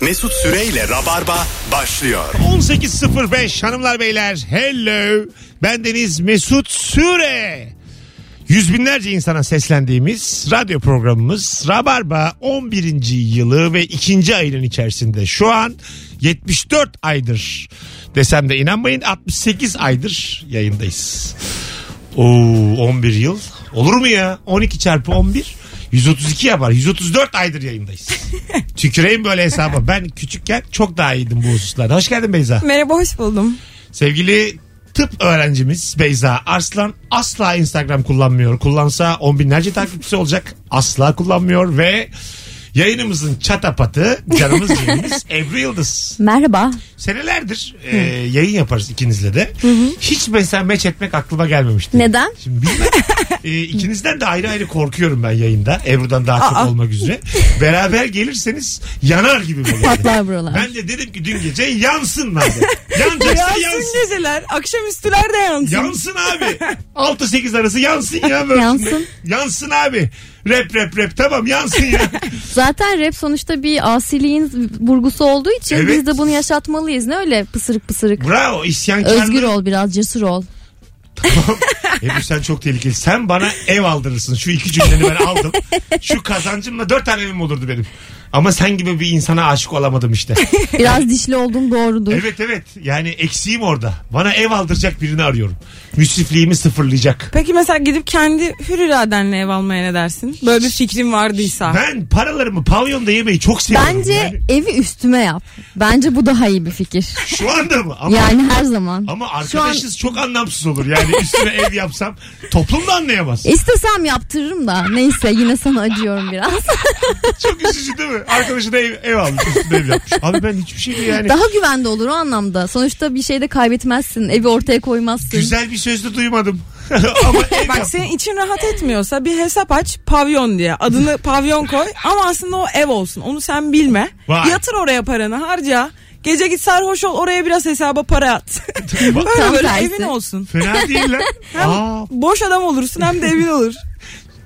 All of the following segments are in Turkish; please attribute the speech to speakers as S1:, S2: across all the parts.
S1: Mesut Süreyle Rabarba başlıyor.
S2: 18.05 hanımlar beyler. Hello. Ben Deniz Mesut Süre. Yüz binlerce insana seslendiğimiz radyo programımız Rabarba 11. yılı ve 2. ayının içerisinde şu an 74 aydır desem de inanmayın 68 aydır yayındayız. Oo 11 yıl olur mu ya 12 çarpı 11 132 yapar 134 aydır yayındayız. Tüküreyim böyle hesaba ben küçükken çok daha iyiydim bu hususlarda. Hoş geldin Beyza.
S3: Merhaba hoş buldum.
S2: Sevgili tıp öğrencimiz Beyza Arslan asla Instagram kullanmıyor. Kullansa on binlerce takipçisi olacak. Asla kullanmıyor ve yayınımızın çatapatı canımız yayınımız Ebru Yıldız.
S4: Merhaba.
S2: Senelerdir e, yayın yaparız ikinizle de. Hiç mesela meç etmek aklıma gelmemişti.
S4: Neden?
S2: Şimdi bilmem. E, ikinizden de ayrı ayrı korkuyorum ben yayında. Ebru'dan daha çok
S3: Aa.
S2: olmak üzere. Beraber gelirseniz yanar gibi böyle.
S4: Patlar buralar.
S2: Ben de dedim ki dün gece yansın lan. Yanacaksa yansın.
S3: Yansın geceler. Akşamüstüler de yansın.
S2: Yansın abi. 6-8 arası yansın ya. Böyle.
S4: Yansın.
S2: Yansın abi. Rap rap rap tamam yansın ya.
S4: Zaten rap sonuçta bir asiliğin vurgusu olduğu için
S2: Evet.
S4: biz de bunu yaşatmalıyız. Ne öyle pısırık pısırık.
S2: Bravo isyankarlık.
S4: Özgür ol biraz cesur ol.
S2: Ebru sen çok tehlikeli. Sen bana ev aldırırsın. Şu iki cümleni ben aldım. Şu kazancımla dört tane evim olurdu benim. Ama sen gibi bir insana aşık olamadım işte.
S4: Biraz dişli oldun doğrudur.
S2: evet evet. Yani eksiğim orada. Bana ev aldıracak birini arıyorum. Müsrifliğimi sıfırlayacak.
S3: Peki mesela gidip kendi hür iradenle ev almaya ne dersin? Böyle bir fikrin vardıysa.
S2: Ben paralarımı pavyonda yemeyi çok seviyorum.
S4: Ah. Bence
S2: Yani
S4: evi üstüme yap. Bence bu daha iyi bir fikir.
S2: şu anda mı? Ama
S4: Yani her zaman.
S2: Ama
S4: Şu an
S2: arkadaşız çok anlamsız olur. Yani üstüne ev yapsam toplum da anlayamaz.
S4: E- istesem yaptırırım da neyse yine sana acıyorum biraz.
S2: Çok üzücü değil mi? Arkadaşına ev, ev almış üstüne ev yapmış. Abi ben hiçbir şey değil yani.
S4: Daha güvende olur o anlamda. Sonuçta bir şeyde kaybetmezsin. Evi ortaya koymazsın.
S2: Güzel bir söz de duymadım. Ama ev
S3: Bak
S2: yap.
S3: senin için rahat etmiyorsa bir hesap aç pavyon diye. Adını pavyon koy ama aslında o ev olsun. Onu sen bilme.
S2: Vay.
S3: Yatır oraya paranı harca. Gece git sarhoş ol oraya biraz hesaba para at.
S2: Bak,
S3: böyle
S4: Tam
S3: böyle
S4: tersi.
S3: evin olsun.
S2: Fena değil lan. Aa,
S3: Boş adam olursun hem de evin olur.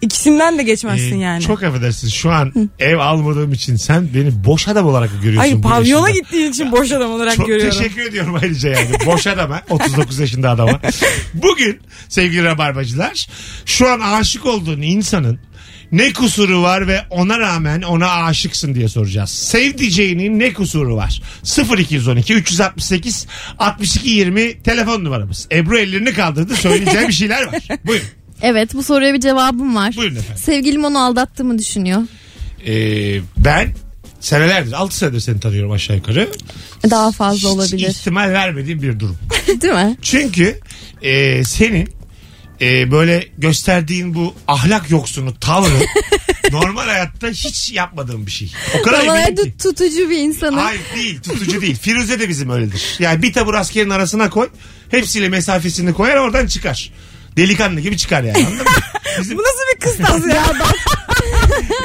S3: İkisinden de
S2: e,
S3: geçmezsin yani.
S2: Çok affedersin şu an ev almadığım için sen beni boş adam olarak görüyorsun.
S3: Hayır
S2: bu
S3: pavyona
S2: yaşında.
S3: gittiğin için boş adam olarak
S2: Çok
S3: görüyorum.
S2: teşekkür ediyorum ayrıca yani. Boş adama. 39 yaşında adama. Bugün sevgili rabarbacılar şu an aşık olduğun insanın ne kusuru var ve ona rağmen ona aşıksın diye soracağız. Sevdiceğinin ne kusuru var? 0212 368 62 20 telefon numaramız. Ebru ellerini kaldırdı söyleyeceği bir şeyler var. Buyurun.
S4: Evet bu soruya bir cevabım var.
S2: Buyurun efendim.
S4: Sevgilim onu aldattığımı düşünüyor.
S2: Ee, ben senelerdir 6 senedir seni tanıyorum aşağı yukarı.
S4: Daha fazla
S2: Hiç
S4: olabilir.
S2: ihtimal vermediğim bir durum.
S4: Değil mi?
S2: Çünkü e, senin e, böyle gösterdiğin bu ahlak yoksunu tavrı normal hayatta hiç yapmadığım bir şey. O kadar eminim
S4: Normalde
S2: ki.
S4: tutucu bir insanım.
S2: Hayır değil tutucu değil. Firuze de bizim öyledir. Yani bir tabur askerin arasına koy. Hepsiyle mesafesini koyar oradan çıkar. Delikanlı gibi çıkar yani anladın mı? Bizim
S3: Bu nasıl bir kıstas ya?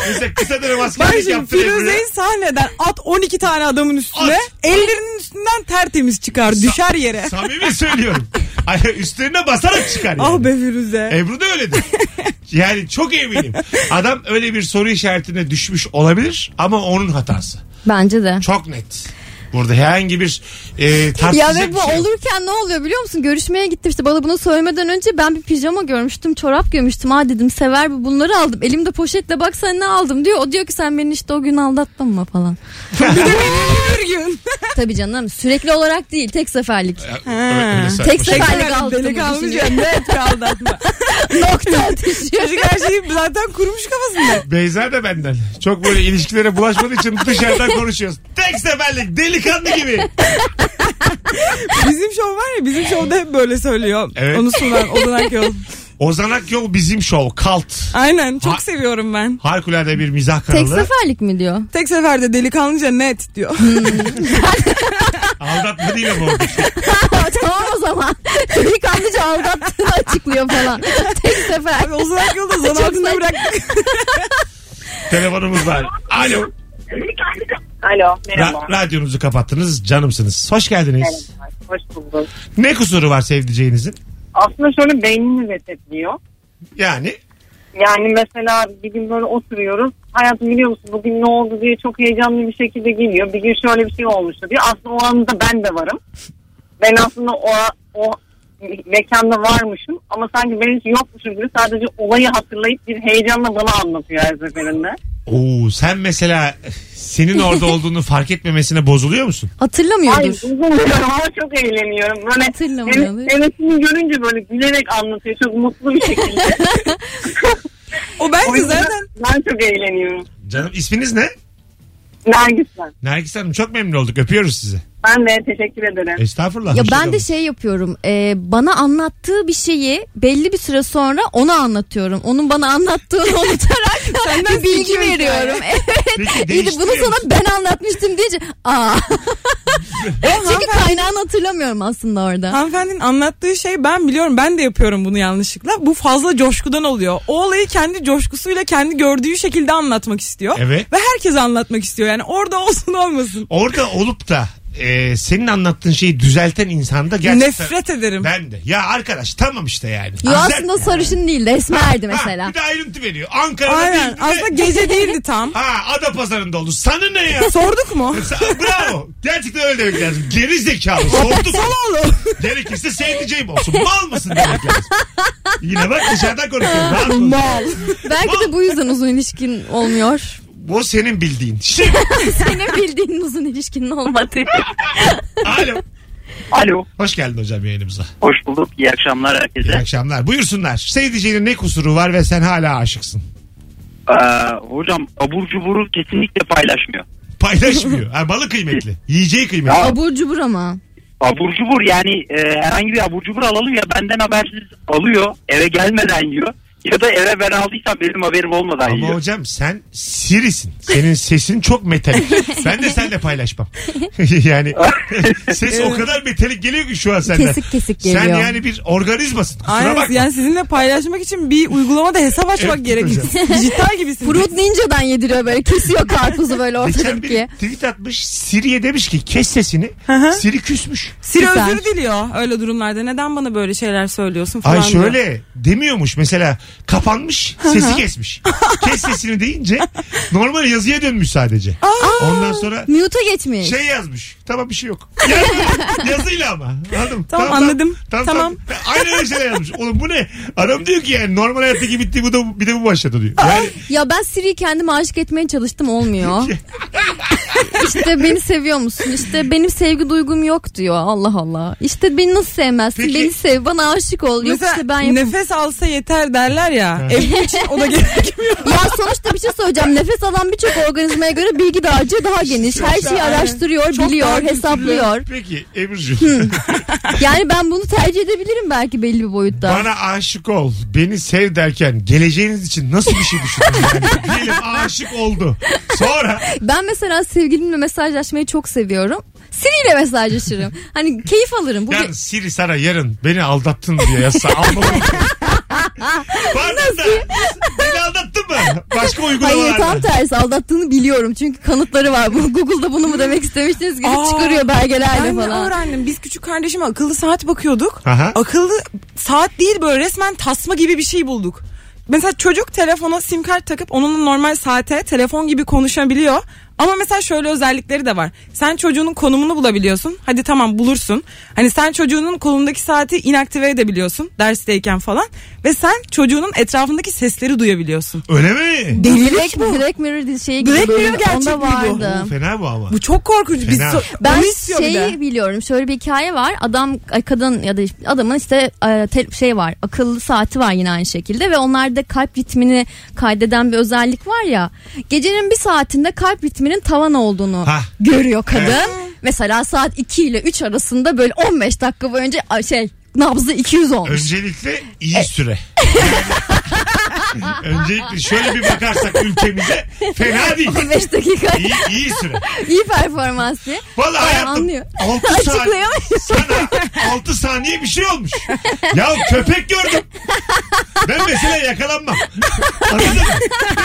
S2: mesela kısa dönem
S3: Bak
S2: askerlik
S3: şimdi
S2: yaptı. Ebru'ya.
S3: Firuze'yi sahneden at 12 tane adamın üstüne
S2: At.
S3: ellerinin üstünden tertemiz çıkar düşer yere.
S2: Samimi söylüyorum. Ay, üstlerine basarak çıkar yani.
S3: Ah be Firuze.
S2: Ebru da öyledir. Yani çok eminim. Adam öyle bir soru işaretine düşmüş olabilir ama onun hatası.
S4: Bence de.
S2: Çok net. Burada herhangi bir e, tartışacak
S4: Ya ve
S2: bir
S4: bu
S2: şey yok.
S4: olurken ne oluyor biliyor musun? Görüşmeye gitti işte bana bunu söylemeden önce ben bir pijama görmüştüm, çorap görmüştüm. Ha dedim sever bu bunları aldım. Elimde poşetle bak sen ne aldım diyor. O diyor ki sen beni işte o gün aldattın mı falan.
S3: Bir gün.
S4: Tabii canım sürekli olarak değil tek seferlik.
S2: Ö- ö- öyle saçma
S4: Tek
S2: şey.
S4: sefer-
S3: Tekrar
S4: aldım
S3: Deli
S4: bunu
S3: kalmış ya
S4: düşünüyorum.
S3: net bir aldatma.
S4: Nokta atışı.
S3: Çocuk her şeyi zaten kurumuş kafasında.
S2: Beyza da benden. Çok böyle ilişkilere bulaşmadığı için dışarıdan konuşuyoruz. Tek seferlik delikanlı gibi.
S3: Bizim şov var ya bizim şovda hep böyle söylüyor.
S2: Evet.
S3: Onu sunan Odanak Yol.
S2: Ozanak Yol bizim şov. Kalt.
S3: Aynen çok
S2: Ha-
S3: seviyorum ben.
S2: Harikulade bir mizah
S4: Tek
S2: kanalı.
S4: seferlik mi diyor?
S3: Tek seferde delikanlıca net diyor.
S2: Aldatma değil ama şey. orada.
S4: tamam o zaman. Çocuk anlıca aldattığını açıklıyor falan. Tek sefer.
S3: Abi Odanak Yol'da zan
S4: Çok
S3: altında
S4: saçma.
S3: bıraktık.
S2: Telefonumuz var. Alo.
S5: Alo merhaba.
S2: Ra- radyonuzu kapattınız. Canımsınız. Hoş geldiniz.
S5: Merhaba, Hoş bulduk.
S2: Ne kusuru var sevdiceğinizin?
S5: Aslında şöyle beynini resetliyor.
S2: Yani
S5: Yani mesela bir gün böyle oturuyoruz. Hayatım biliyor musun bugün ne oldu diye çok heyecanlı bir şekilde geliyor. Bir gün şöyle bir şey olmuştu diyor. Aslında o anda ben de varım. Ben aslında o, o mekanda varmışım ama sanki ben hiç yokmuşum gibi sadece olayı hatırlayıp bir heyecanla bana anlatıyor her seferinde.
S2: Oo, sen mesela senin orada olduğunu fark etmemesine bozuluyor musun?
S5: Ay
S4: Hatırlamıyordur.
S5: üzülmüyorum ama çok eğleniyorum. Böyle
S4: Hatırlamıyordur.
S5: evet- evetini görünce böyle gülerek anlatıyor. Çok mutlu bir şekilde.
S3: O
S5: O
S3: bence
S5: yüzden
S3: zaten
S5: ben çok eğleniyorum.
S2: Canım isminiz ne?
S5: Nergis ben.
S2: Nergis Hanım çok memnun olduk. Öpüyoruz sizi.
S5: Ben de teşekkür ederim.
S2: Estağfurullah.
S4: Ya
S2: hoşça
S4: ben
S2: kalın.
S4: de şey yapıyorum. e, bana anlattığı bir şeyi belli bir süre sonra ona anlatıyorum. Onun bana anlattığını unutarak bir bilgi
S3: seçiyor hikaye.
S4: veriyorum. Evet.
S2: Peki
S4: İyi de bunu
S2: değiştiriyor
S4: sana
S2: musun?
S4: ben anlatmıştım deyince aa. Çünkü kaynağını hatırlamıyorum aslında orada.
S3: hanımefendinin anlattığı şey ben biliyorum ben de yapıyorum bunu yanlışlıkla. Bu fazla coşkudan oluyor. O olayı kendi coşkusuyla kendi gördüğü şekilde anlatmak istiyor.
S2: Evet.
S3: Ve herkese anlatmak istiyor yani orada olsun olmasın.
S2: Orada olup da e, senin anlattığın şeyi düzelten insanda gerçekten...
S3: Nefret ederim.
S2: Ben de. Ya arkadaş tamam işte yani.
S4: Yo
S2: Düzelt
S4: aslında
S2: yani.
S4: sarışın değil de esmerdi
S2: Ha,
S4: mesela.
S2: bir de ayrıntı veriyor. Ankara'da
S3: Aynen
S2: değil. bir de-
S3: aslında gece değildi tam.
S2: Ha ada pazarında oldu. Sana ne ya?
S3: Sorduk mu?
S2: Sa- Bravo. Gerçekten öyle demek lazım. Geri zekalı. Sorduk.
S3: Oğlum.
S2: Gerekirse sevdiceğim olsun. Mal mısın demek lazım. Yine bak dışarıdan konuşuyorum. Rahat ol.
S3: Mal.
S4: Belki de bu yüzden uzun ilişkin olmuyor.
S2: Bu senin bildiğin. Şey, Şimdi.
S4: Senin bildiğin uzun ilişkinin olmadı.
S2: Alo.
S6: Alo.
S2: Hoş geldin hocam yayınımıza.
S6: Hoş bulduk. İyi akşamlar
S2: İyi
S6: herkese.
S2: akşamlar. Buyursunlar. Sevdiceğinin ne kusuru var ve sen hala aşıksın?
S6: Ee, hocam abur cuburu kesinlikle paylaşmıyor.
S2: Paylaşmıyor. Ha, malı kıymetli. Yiyeceği kıymetli.
S6: Ya.
S4: Abur cubur ama.
S6: Abur cubur yani e, herhangi bir abur cubur alalım ya benden habersiz alıyor. Eve gelmeden yiyor. Ya da eve ben aldıysam benim haberim olmadan
S2: Ama
S6: yiyor.
S2: hocam sen Siri'sin. Senin sesin çok metalik. Ben de seninle paylaşmam. yani ses o kadar metalik geliyor ki şu an senden.
S4: Kesik kesik
S2: Sen
S4: geliyor.
S2: yani bir organizmasın. Kusura
S3: Aynen
S2: bakma.
S3: yani sizinle paylaşmak için bir uygulamada hesap açmak
S2: Evet,
S3: gerekir. Dijital gibisiniz.
S4: Fruit Ninja'dan yediriyor böyle kesiyor karpuzu böyle
S2: Geçen biri
S4: ortadaki.
S2: tweet atmış. Siri'ye demiş ki kes sesini.
S3: hı.
S2: Siri küsmüş.
S3: Siri
S4: Süper.
S3: özür diliyor öyle durumlarda. Neden bana böyle şeyler söylüyorsun falan
S2: Ay
S3: diyor.
S2: şöyle demiyormuş mesela kapanmış sesi kesmiş. Kes sesini deyince normal yazıya dönmüş sadece. Ondan sonra
S4: Mute'a geçmiş.
S2: şey yazmış. Tamam bir şey yok. Yazmış. Yazıyla ama. Anladın mı?
S3: Tamam, anladım. Tamam.
S2: Aynen öyle şeyler yazmış. Oğlum bu ne? Adam diyor ki yani normal hayattaki bitti bu da bir de bu başladı diyor. Yani
S4: Ya ben Siri'yi kendime aşık etmeye çalıştım olmuyor. işte beni seviyor musun? İşte benim sevgi duygum yok diyor. Allah Allah. İşte beni nasıl sevmezsin?
S2: Peki-
S4: Beni sev, bana aşık ol. Yok
S3: Mesela
S4: işte ben yap-
S3: nefes alsa yeter derler ya. Evli için o da gerekmiyor.
S4: Ya sonuçta bir şey söyleyeceğim. Nefes alan birçok organizmaya göre bilgi dağarcığı daha geniş. Her şeyi araştırıyor,
S3: Çok daha
S4: biliyor,
S3: kültürlü.
S4: hesaplıyor.
S2: peki Ebru'cum
S4: Yani ben bunu tercih edebilirim belki belli bir boyutta.
S2: bana aşık ol beni sev derken geleceğiniz için nasıl bir şey düşündün? Yani? Diyelim aşık oldu. Sonra
S4: Ben mesela sevgilimle mesajlaşmayı çok seviyorum. Siri'yle mesajlaşırım. hani keyif alırım. Bu
S2: Yani Siri sana yarın beni aldattın diye yazsa almam. Pardon da beni aldattın mı? Başka
S4: Hayır tam
S2: uygulamalarda.
S4: tersi aldattığını biliyorum çünkü kanıtları var. Bu Google'da bunu mu demek istemiştiniz gibi
S3: Aa,
S4: çıkarıyor belgelerle
S3: Ben de
S4: falan.
S3: öğrendim. Biz küçük kardeşime akıllı saat bakıyorduk.
S2: Aha.
S3: Akıllı saat değil böyle resmen tasma gibi bir şey bulduk. Mesela çocuk telefona sim kart takıp onunla normal saate telefon gibi konuşabiliyor. Ama mesela şöyle özellikleri de var. Sen çocuğunun konumunu bulabiliyorsun. Hadi tamam bulursun. Hani sen çocuğunun kolundaki saati inaktive edebiliyorsun dersteyken falan. Ve sen çocuğunun etrafındaki sesleri duyabiliyorsun.
S2: Öyle mi?
S4: Black, Black Mirror şeyi gibi.
S3: Black
S4: böyle
S3: Mirror gerçek
S4: onda
S3: mi bu?
S4: vardı.
S2: Fena bu ama.
S3: Bu çok korkunç. Biz
S2: Fena.
S3: so-
S4: Ben şey-
S3: onu istiyor bir de.
S4: şeyi biliyorum. Şöyle bir hikaye var. Adam ay, kadın ya da işte- adamın işte e, te- şey var. Akıllı saati var yine aynı şekilde ve onlarda kalp ritmini kaydeden bir özellik var ya. Gecenin bir saatinde kalp ritminin tavan olduğunu
S2: Ha.
S4: görüyor kadın. Mesela saat 2 ile 3 arasında böyle 15 dakika boyunca a, şey nabzı 200 olmuş.
S2: Öncelikle iyi süre. Öncelikle şöyle bir bakarsak ülkemize fena değil.
S4: 15 dakika
S2: İyi, iyi süre.
S4: iyi performans diye.
S2: Vallahi
S4: Ay,
S2: hayatım
S4: anlıyor.
S2: 6 saniye,
S4: Açıklayamıyorum.
S2: sana 6 saniye bir şey olmuş. Ya köpek gördüm. Ben mesela yakalanmam. Anladın mı?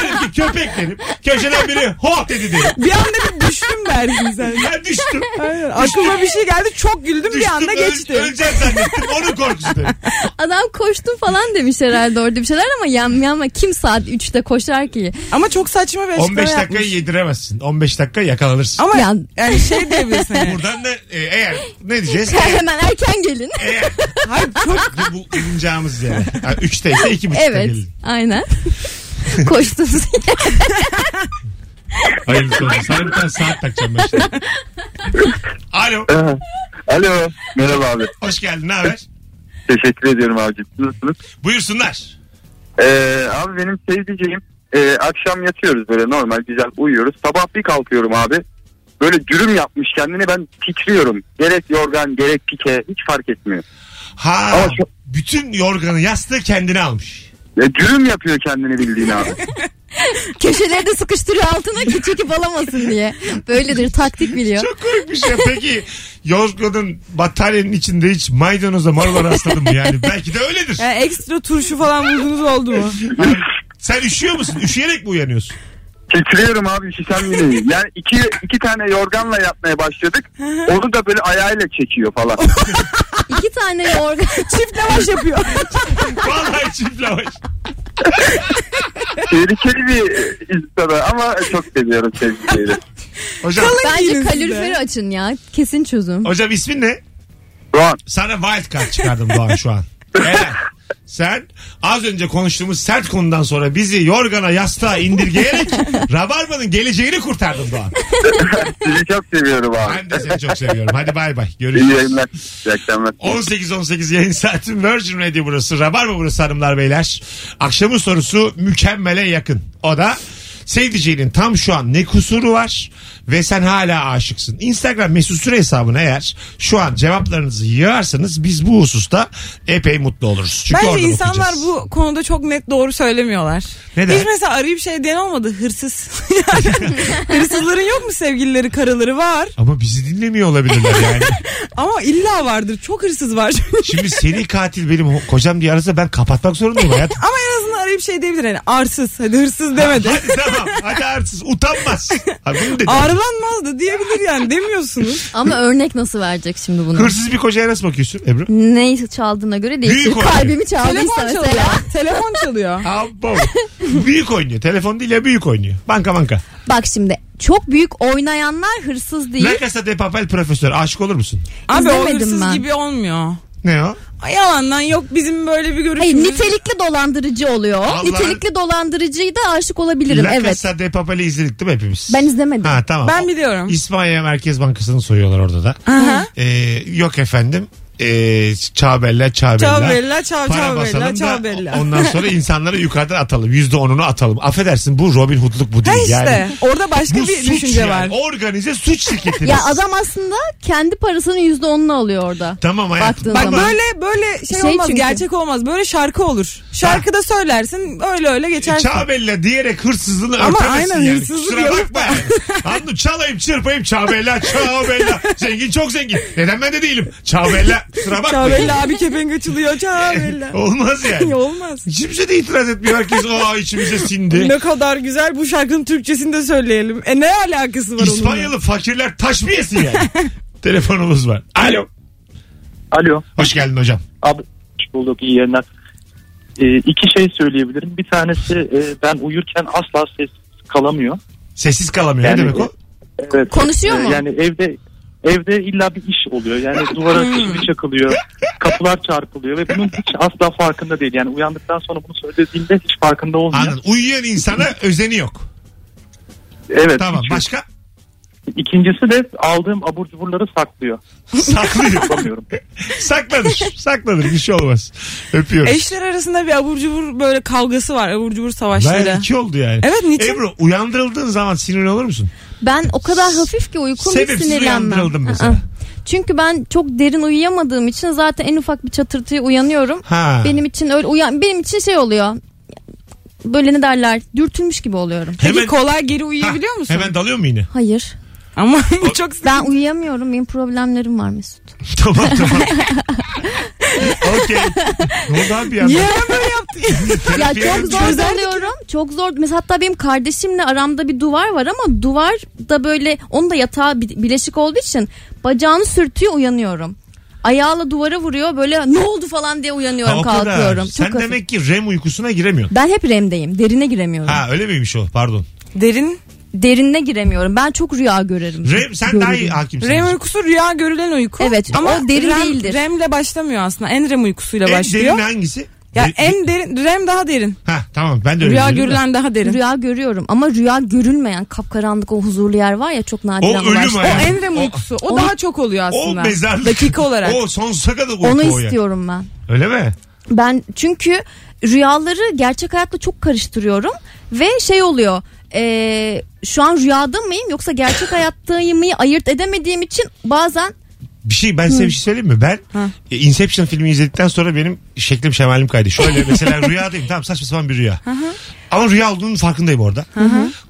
S2: Derim ki köpek derim. Köşeden biri ho dedi derim.
S3: Bir anda bir düştüm dersin sen.
S2: Ben düştüm.
S3: Aynen. Aklıma bir şey geldi çok güldüm bir
S2: düştüm,
S3: anda
S2: öl-
S3: geçti.
S2: öleceğim zannettim. Onun korkusu derim.
S4: Adam koştum falan demiş herhalde orada bir şeyler ama yan yanma kim saat 3'te koşar ki?
S3: Ama çok saçma bir açıklama
S2: 15
S3: yapmış.
S2: dakikayı yediremezsin. 15 dakika yakalanırsın.
S3: Ama
S4: Ya-
S3: yani şey diyebilirsin yani.
S2: Buradan da e, eğer ne diyeceğiz? Eğer,
S4: Hemen erken gelin.
S2: eğer
S3: Hayır çok
S2: bu bulunacağımız yere. Yani 3'te ise 2.30'da
S4: Evet
S2: gelin.
S4: aynen. Koştunuz.
S2: Hayırlısı olsun. Sana bir tane saat takacağım ben şimdi. Alo.
S7: Alo. Merhaba abi.
S2: Hoş geldin. Ne haber?
S7: Teşekkür ediyorum abicim. Nasılsınız?
S2: Buyursunlar.
S7: Ee, abi benim sevdiceğim e, akşam yatıyoruz böyle normal güzel uyuyoruz. Sabah bir kalkıyorum abi. Böyle cürüm yapmış kendini ben titriyorum. Gerek yorgan gerek pike hiç fark etmiyor.
S2: Ha,
S7: Ama şu-
S2: bütün yorganı yastığı kendine almış.
S7: Ya, cürüm yapıyor kendini bildiğin abi.
S4: Köşelerde sıkıştırıyor altına ki çekip alamasın diye. Böyledir taktik biliyor.
S2: Çok komik bir şey. Peki yorganın bataryanın içinde hiç maydanoza marula rastladın mı yani? Belki de öyledir.
S3: yani ekstra turşu falan buldunuz oldu mu?
S2: Yani sen üşüyor musun? Üşüyerek mi uyanıyorsun?
S7: titriyorum abi şişem yine. Yani iki, iki tane yorganla yatmaya başladık. Onu da böyle ayağıyla çekiyor falan.
S4: İki tane yorgan.
S3: Çift lavaş yapıyor.
S2: Vallahi çift lavaş.
S7: Tehlikeli bir insana ama çok seviyorum sevgilileri.
S2: Hocam,
S4: Bence
S3: Yine size.
S4: kaloriferi açın ya. Kesin çözüm.
S2: hocam ismin ne?
S7: Doğan
S2: Sana wild card çıkardım Doğan şu an. Eğer sen az önce konuştuğumuz sert konudan sonra bizi yorgana yastığa indirgeyerek Rabarba'nın geleceğini kurtardın Doğan.
S7: sizi çok seviyorum abi.
S2: Ben de seni çok seviyorum. Hadi bay bay.
S7: İyi
S2: Görüşürüz.
S7: yayınlar. İyi akşamlar.
S2: 18-18 yayın saatin Virgin Radio burası. Rabarba burası hanımlar beyler. Akşamın sorusu mükemmele yakın. O da sevdiceğinin tam şu an ne kusuru var ve sen hala aşıksın. Instagram mesut süre hesabına eğer şu an cevaplarınızı yığarsanız biz bu hususta epey mutlu oluruz. Çünkü
S3: Bence
S2: oradan
S3: insanlar
S2: okuyacağız.
S3: bu konuda çok net doğru söylemiyorlar.
S2: Neden?
S3: Hiç mesela arayıp şey diyen olmadı hırsız. Yani Hırsızların yok mu sevgilileri karıları var.
S2: Ama bizi dinlemiyor olabilirler yani.
S3: Ama illa vardır çok hırsız var.
S2: Şimdi seni katil benim ho- kocam diye arasa ben kapatmak zorundayım hayatım.
S3: Ama en azından arayıp şey diyebilir hani arsız hadi hırsız demedi.
S2: Hadi tamam hadi arsız utanmaz. Ha, bunu dedi.
S3: Ağrılanmaz da diyebilir yani demiyorsunuz.
S4: Ama örnek nasıl verecek şimdi bunu?
S2: Hırsız bir kocaya nasıl bakıyorsun Ebru?
S4: Neyi çaldığına göre değişir.
S2: Büyük oynuyor.
S4: Kalbimi çaldıysa
S3: Telefon çalıyor.
S4: mesela.
S3: Telefon çalıyor.
S2: Abo. büyük oynuyor. Telefon değil ya büyük oynuyor. Banka banka.
S4: Bak şimdi çok büyük oynayanlar hırsız değil.
S2: La Casa de Papel profesör. Aşık olur musun?
S3: Abi o
S4: İzlemedim
S3: hırsız
S4: ben.
S3: gibi olmuyor.
S2: Ne o?
S3: Ay, Yalandan yok bizim böyle bir görüşümüz.
S4: Hayır nitelikli dolandırıcı oluyor.
S2: Allah-
S4: Nitelikli dolandırıcıyı da aşık olabilirim.
S2: La
S4: evet.
S2: Casa de Papel'i izledik değil mi hepimiz?
S4: Ben izlemedim.
S2: Ha tamam.
S3: Ben biliyorum.
S2: İspanya Merkez Bankası'nı soruyorlar orada da.
S3: Aha.
S2: Ee, yok efendim. Ee, Çağbella, Çağbella.
S3: Çağbella, Çağ-
S2: Para
S3: Çağbella,
S2: basalım da
S3: Çağbella.
S2: Ondan sonra insanları yukarıdan atalım. Yüzde onunu atalım. Affedersin bu Robin Hood'luk bu
S3: Ha
S2: değil.
S3: işte
S2: Yani,
S3: orada başka
S2: bu
S3: bir
S2: suç
S3: düşünce
S2: yani.
S3: var.
S2: Organize suç şirketiniz.
S4: Ya adam aslında kendi parasının yüzde onunu alıyor orada.
S2: Tamam hayatım.
S4: Baktığın
S3: Bak
S4: zaman.
S3: böyle böyle şey,
S4: Şey
S3: olmaz
S4: çünkü.
S3: gerçek olmaz böyle şarkı olur. Şarkıda söylersin öyle öyle geçersin.
S2: Çağbella diyerek hırsızlığını
S3: Ama
S2: örtemezsin
S3: aynen
S2: yani.
S3: hırsızlık
S2: Kusura
S3: yok.
S2: bakma yani. Anladın mı? Çalayım çırpayım Çağbella Çağbella. Zengin çok zengin. Neden ben de değilim? Çağbella kusura bakma.
S3: Çağbella abi kepenk açılıyor Çağbella.
S2: Olmaz yani.
S3: Olmaz.
S2: Kimse de itiraz etmiyor. Herkes o içimize sindi.
S3: Ne kadar güzel bu şarkının Türkçesini de söyleyelim. E ne alakası var onunla?
S2: İspanyalı fakirler taş mı yesin yani? Telefonumuz var. Alo.
S8: Alo.
S2: Hoş geldin hocam.
S8: Abi hoş bulduk iyi yayınlar. Ee, iki şey söyleyebilirim. Bir tanesi e, ben uyurken asla sessiz kalamıyor.
S2: Sessiz kalamıyor.
S8: Yani- e,
S2: ne demek o?
S8: Evet.
S4: Konuşuyor
S8: Ee,
S4: mu?
S8: Yani evde evde illa bir iş oluyor. Yani duvara
S4: Hmm.
S8: çivi çakılıyor. Kapılar çarpılıyor ve bunun hiç asla farkında değil. Yani uyandıktan sonra bunu söylediğinde hiç farkında olmuyor.
S2: Anladın. Uyuyan insana özeni yok.
S8: Evet.
S2: Tamam.
S8: hiç-
S2: Başka?
S8: İkincisi de aldığım abur cuburları saklıyor.
S2: Saklıyor.
S8: Yapamıyorum.
S2: Saklanır. Saklanır. Bir şey olmaz. Öpüyoruz.
S3: Eşler arasında bir abur cubur böyle kavgası var abur cubur savaşları.
S2: Ben iki oldu yani.
S3: Evet, niçin?
S2: Ebru uyandırıldığın zaman sinirli olur musun?
S4: Ben o kadar hafif ki uykum hiç
S2: Sebepsiz
S4: sinirlenmem.
S2: uyandırıldım mesela.
S4: Aa. Çünkü ben çok derin uyuyamadığım için zaten en ufak bir çatırtıya uyanıyorum.
S2: Ha.
S4: Benim için öyle uyan benim için şey oluyor. Böyle ne derler? Dürtülmüş gibi oluyorum.
S3: Peki
S2: Hemen-
S3: kolay geri
S2: Ha,
S3: uyuyabiliyor musun?
S2: Hemen dalıyor mu yine?
S4: Hayır.
S3: Ama bu çok
S4: Ben uyuyamıyorum. Benim problemlerim var Mesut.
S2: tamam tamam. Okey. Ne oldu abi ya?
S3: Niye ben böyle yaptım?
S4: Ya
S2: Terapiye
S4: çok zor
S3: Çözer
S4: buluyorum. Çok zor. Mesela hatta benim kardeşimle aramda bir duvar var ama duvar da böyle onun da yatağı bi- bileşik olduğu için bacağını sürtüyor uyanıyorum. Ayağıyla duvara vuruyor böyle ne oldu falan diye uyanıyorum
S2: Ha, o kadar.
S4: kalkıyorum. Çok
S2: Sen
S4: hafif.
S2: demek ki REM uykusuna giremiyorsun.
S4: Ben hep REM'deyim. Derine giremiyorum.
S2: Ha öyle miymiş o pardon.
S3: Derin.
S4: Derinine giremiyorum. Ben çok rüya görerim.
S2: REM sen daha iyi hakimsin.
S3: REM uykusu rüya görülen uyku.
S4: Evet, o derin
S3: REM,
S4: değildir.
S3: REM'le başlamıyor aslında. En REM uykusuyla
S2: en E,
S3: başlıyor.
S2: derin hangisi?
S3: Ya
S2: Re-
S3: en derin REM daha derin.
S2: Ha tamam ben de öyle
S3: Rüya
S2: biliyorum da.
S3: görülen daha derin.
S4: Rüya görüyorum ama rüya görülmeyen kapkaranlık o huzurlu yer var ya çok
S2: O
S4: nadiren
S2: ölüm
S4: ulaştım.
S3: O
S2: hayatı.
S3: en REM uykusu. O,
S4: O-
S3: daha çok oluyor
S2: O
S3: aslında.
S2: mezarlık.
S3: Dakika olarak.
S2: O sonsuza kadar uyku
S4: Onu
S2: o ya.
S4: istiyorum ben.
S2: Öyle mi?
S4: Ben çünkü rüyaları gerçek hayatla çok karıştırıyorum ve şey oluyor. e, şu an rüyada mıyım yoksa gerçek hayattayım mı ayırt edemediğim için bazen
S2: Bir şey ben size bir şey söyleyeyim mi? Ben e, Inception filmi izledikten sonra benim şeklim şemalim kaydı. Şöyle mesela rüyadayım tamam saçma sapan bir rüya. Ama rüya olduğunun farkındayım orada.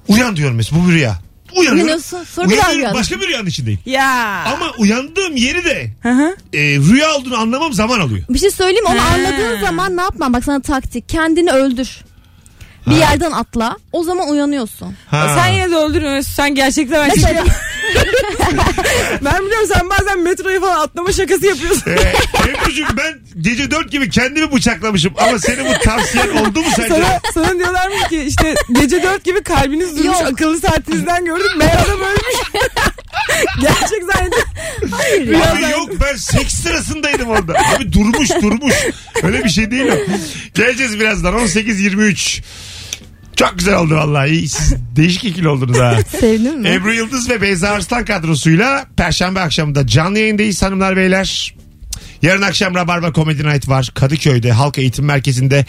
S2: Uyan diyorum mesela bu bir rüya. Uyanıyorum.
S4: Uyanıyorsun, sonra bir daha
S2: Uyanıyorum,
S4: rüya.
S2: başka bir rüyanın içindeyim.
S3: Ya.
S2: Ama uyandığım yeri de e, rüya olduğunu anlamam zaman alıyor.
S4: bir şey söyleyeyim mi? onu
S3: Ha.
S4: anladığın zaman ne yapmam bak sana taktik kendini öldür. Bir yerden atla o zaman uyanıyorsun.
S2: Ha.
S3: Sen yine de öldürmüyorsun. Sen gerçekten ben
S4: Mesela
S3: Ben biliyorum sen bazen metroyu falan atlama şakası yapıyorsun.
S2: Ee, Ebru'cum ben gece dört gibi kendimi bıçaklamışım ama senin bu tavsiyen oldu mu sence?
S3: sana, sana diyorlarmış ki işte gece dört gibi kalbiniz durmuş
S4: Yok.
S3: akıllı saatinizden gördüm. Meğer adam ölmüş. Gerçek zannedip. Rüya
S2: Abi yok ben seks sırasındaydım orada. Abi durmuş durmuş. Öyle bir şey değil o. Geleceğiz birazdan 18.23. Çok güzel oldu vallahi. İyi, Siz değişik ikili oldunuz ha.
S4: sevdin mi?
S2: Ebru Yıldız ve Beyza Arslan kadrosuyla Perşembe akşamında canlı yayındayız hanımlar beyler. Yarın akşam Rabarba Comedy Night var. Kadıköy'de Halk Eğitim Merkezi'nde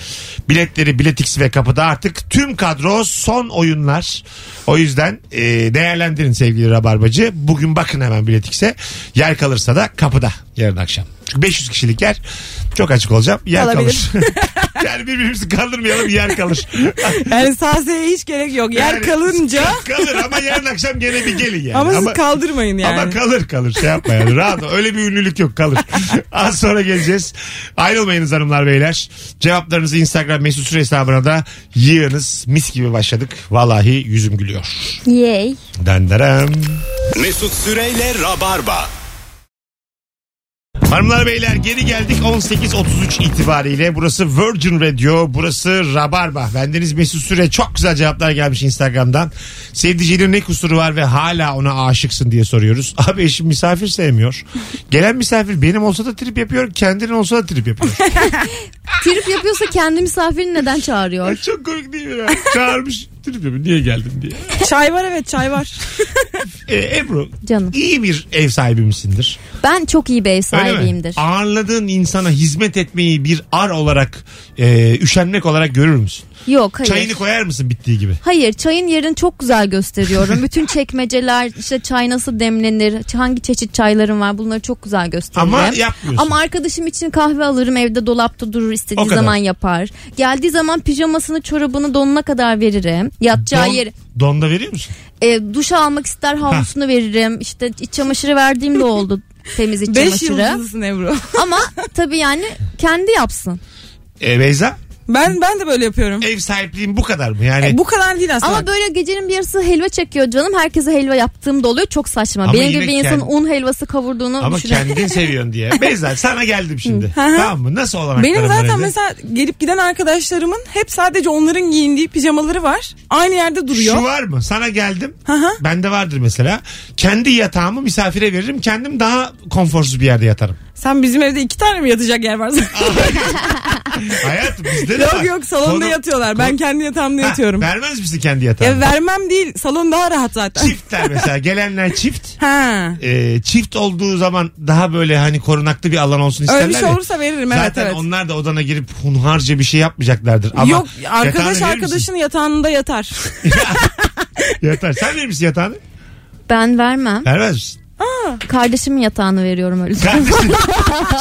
S2: biletleri Biletix ve kapıda artık tüm kadro son oyunlar. O yüzden e, değerlendirin sevgili Rabarbacı. Bugün bakın hemen Biletix'e. Yer kalırsa da kapıda yarın akşam. Çünkü 500 kişilik yer çok açık olacağım. Yer
S3: Kalabilir.
S2: kalır. yani birbirimizi kaldırmayalım yer kalır.
S3: Yani sahseye hiç gerek yok. Yer
S2: Yani
S3: kalınca
S2: kalır ama yarın akşam gene bir gelin yani.
S3: ama, siz kaldırmayın yani.
S2: Ama kalır kalır şey yapma yani. Rahat ol. Öyle bir ünlülük yok kalır. Az sonra geleceğiz. Ayrılmayınız hanımlar beyler. Cevaplarınızı Instagram mesut süre hesabına da yığınız. Mis gibi başladık. Vallahi yüzüm gülüyor.
S4: Yay.
S2: Denderem.
S1: Mesut Süreyle Rabarba.
S2: Hanımlar beyler geri geldik 18.33 itibariyle. Burası Virgin Radio, burası Rabarba. Bendeniz Mesut Süre. Çok güzel cevaplar gelmiş Instagram'dan. Sevdiceğinin ne kusuru var ve hala ona aşıksın diye soruyoruz. Abi eşim misafir sevmiyor. Gelen misafir benim olsa da trip yapıyor, kendinin olsa da trip yapıyor.
S4: Trip yapıyorsa kendi misafirini neden
S2: Ay
S4: çağırıyor?
S2: çok komik değil mi ya? Çağırmış trip yapıyor. Niye geldin diye.
S3: Çay var evet çay var.
S2: Ee, Ebru
S4: Canım.
S2: iyi bir ev sahibi misindir?
S4: Ben çok iyi bir ev
S2: Öyle mi?
S4: sahibiyimdir.
S2: Ağırladığın insana hizmet etmeyi bir ar olarak, e, üşenmek olarak görür müsün?
S4: Yok hayır.
S2: Çayını koyar mısın bittiği gibi?
S4: Hayır çayın yerini çok güzel gösteriyorum. Bütün çekmeceler işte çay nasıl demlenir hangi çeşit çayların var bunları çok güzel gösteririm.
S2: Ama yapmıyorsun.
S4: Ama arkadaşım için kahve alırım evde dolapta durur
S2: O
S4: istediği
S2: kadar.
S4: zaman yapar. Geldiği zaman pijamasını çorabını donuna kadar veririm. Yatacağı yeri
S2: Don, donda veriyor musun?
S4: e, duş almak ister havlusunu veririm. İşte iç çamaşırı verdiğim de oldu temiz
S3: 5
S4: iç çamaşırı.
S3: yıldızlısın Ebru.
S4: Ama tabii yani kendi yapsın.
S2: E, Beyza
S3: Ben ben de böyle yapıyorum.
S2: ev sahipliğin bu kadar mı? Yani
S3: E, bu kadar değil aslında.
S4: Ama böyle gecenin bir yarısı helva çekiyor canım. Herkese helva yaptığım da oluyor. Çok saçma.
S2: Ama
S4: Benim
S2: yine
S4: gibi bir insanın
S2: kend-
S4: un helvası kavurduğunu
S2: ama
S4: düşünün.
S2: kendin seviyorsun diye. Beyza sana geldim şimdi. tamam mı? Nasıl olarak?
S3: Benim zaten mesela gelip giden arkadaşlarımın hep sadece onların giyindiği pijamaları var. Aynı yerde duruyor.
S2: Şu var mı? Sana geldim.
S3: hı.
S2: Bende vardır mesela. Kendi yatağımı misafire veririm. Kendim daha konforsuz bir yerde yatarım.
S3: Sen bizim evde iki tane mi yatacak yer var?
S2: Hayatım bizde de var.
S3: yok yok salonda
S2: Konu-
S3: yatıyorlar.
S2: konu-
S3: Ben kendi yatağımda
S2: Ha,
S3: yatıyorum.
S2: Vermez misin kendi yatağını?
S3: Ya vermem değil. Salon daha rahat zaten.
S2: Çiftler mesela. Gelenler çift.
S3: ha.
S2: Ee, çift olduğu zaman daha böyle hani korunaklı bir alan olsun isterler
S3: Öyle bir şey
S2: ya.
S3: olursa veririm evet
S2: Zaten
S3: evet.
S2: onlar da odana girip hunharca bir şey yapmayacaklardır. Ama
S3: Yok
S2: yatağını
S3: arkadaş
S2: verir misin?
S3: arkadaşın yatağında yatar.
S2: Yatar. Sen verir misin yatağını?
S4: Ben vermem.
S2: Vermez misin?
S4: Kardeşimin yatağını veriyorum öyle.
S2: Kardeşim.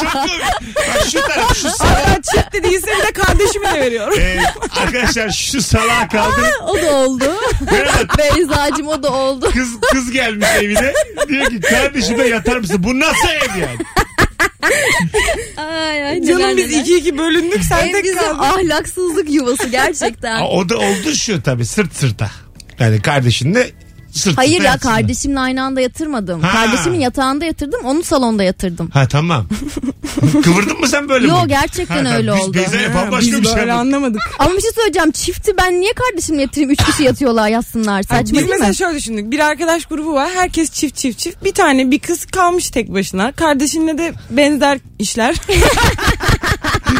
S2: Çok komik. Bak şu taraf şu salak.
S3: Hatta çift de değilse bir de kardeşimi de veriyorum.
S2: Ee, arkadaşlar şu salağa kaldı.
S4: o da oldu.
S2: Merhaba.
S4: Beyza'cığım o da oldu.
S2: Kız kız gelmiş evine. Diyor ki kardeşime yatar mısın? Bu nasıl ev yani?
S4: Ay, ay, neler
S3: Canım biz
S4: neler.
S3: iki iki bölündük sen
S4: Ev
S3: tek
S4: bizim
S3: kaldın.
S4: ahlaksızlık yuvası gerçekten.
S2: Aa, o da oldu şu tabii sırt sırta. Yani kardeşinle sırt
S4: Hayır
S2: sırta
S4: ya
S2: yatsınlar.
S4: kardeşimle aynı anda yatırmadım.
S2: Ha.
S4: Kardeşimin yatağında yatırdım, onu salonda yatırdım.
S2: Ha tamam. Kıvırdın mı sen böyle
S4: Yo,
S2: bugün?
S4: gerçekten öyle
S2: biz
S4: oldu.
S2: Beyza'ya
S3: Ha,
S2: bambaşka
S3: Biz
S2: bir şey
S3: böyle
S2: yaptık.
S3: anlamadık.
S4: Ama bir şey söyleyeceğim. Çifti ben niye kardeşimle yatırayım? Üç kişi yatıyorlar yatsınlar.
S3: Biz
S4: Saçma değil
S3: mesela
S4: mi?
S3: şöyle düşündük. Bir arkadaş grubu var. Herkes çift çift çift. Bir tane bir kız kalmış tek başına. Kardeşinle de benzer işler.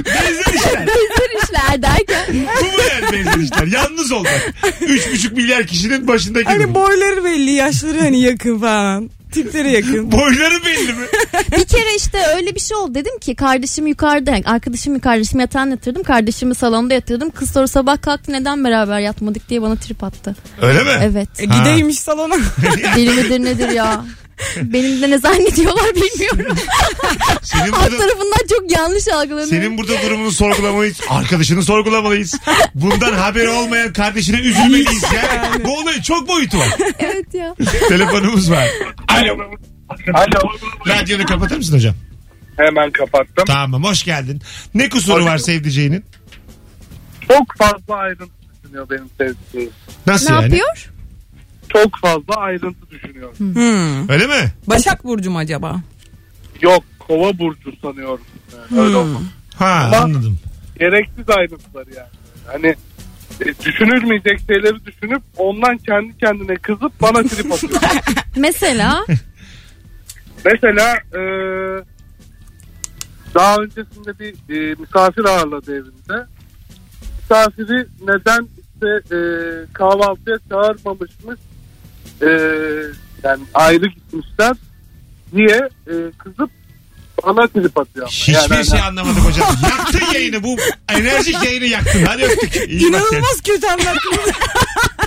S2: Benzer işler.
S4: Benzer işler derken.
S2: Bu mu yani benzer işler? Yalnız olmak. Üç buçuk milyar kişinin başındaki.
S3: hani
S2: bu.
S3: boyları belli, yaşları hani yakın falan. Tipleri yakın.
S2: Boyları belli mi?
S4: bir kere işte öyle bir şey oldu. Dedim ki kardeşim yukarıda. yani arkadaşım yukarıda. Şimdi yatağına yatırdım. Kardeşimi salonda yatırdım. Kız sonra sabah kalktı. Neden beraber yatmadık diye bana trip attı.
S2: Öyle mi?
S4: Evet.
S3: E, gideymiş salona.
S4: Deli midir nedir ya? Benim de ne zannediyorlar bilmiyorum.
S2: Senin
S4: Alt
S2: burada,
S4: tarafından çok yanlış algılanıyor.
S2: senin burada durumunu sorgulamalıyız. Arkadaşını sorgulamalıyız. Bundan haberi olmayan kardeşine üzülmeliyiz. Yani. Bu olayın çok boyutu var.
S4: Evet ya.
S2: Telefonumuz var. Alo.
S9: Alo.
S2: Radyonu kapatır mısın hocam?
S9: Hemen kapattım.
S2: Tamam hoş geldin. Ne kusuru var sevdiceğinin?
S9: Çok fazla ayrıntı düşünüyor benim sevdiğim.
S2: Nasıl
S4: ne
S2: yani?
S4: yapıyor?
S9: Çok fazla ayrıntı düşünüyor.
S3: Hmm.
S2: Öyle mi?
S3: Başak Burcu mu acaba?
S9: Yok kova burcu sanıyorum. Yani Öyle olmaz.
S2: Ha
S9: Ama-
S2: anladım.
S9: Gereksiz ayrıntılar yani. Hani e, düşünülmeyecek şeyleri düşünüp ondan kendi kendine kızıp bana trip atıyor.
S4: Mesela
S9: Mesela e, daha öncesinde bir e, misafir ağırladı evinde. Misafiri neden işte e, kahvaltıya çağırmamışmış e, yani ayrı gitmişler diye e, kızıp bana trip atıyor.
S2: Hiçbir
S9: Yani hani-
S2: şey anlamadık hocam. Yaktın yayını bu enerjik yayını yaktın. Hadi öptük. İyi bak kendine.
S3: İnanılmaz kötü anlattınız.
S2: Ben-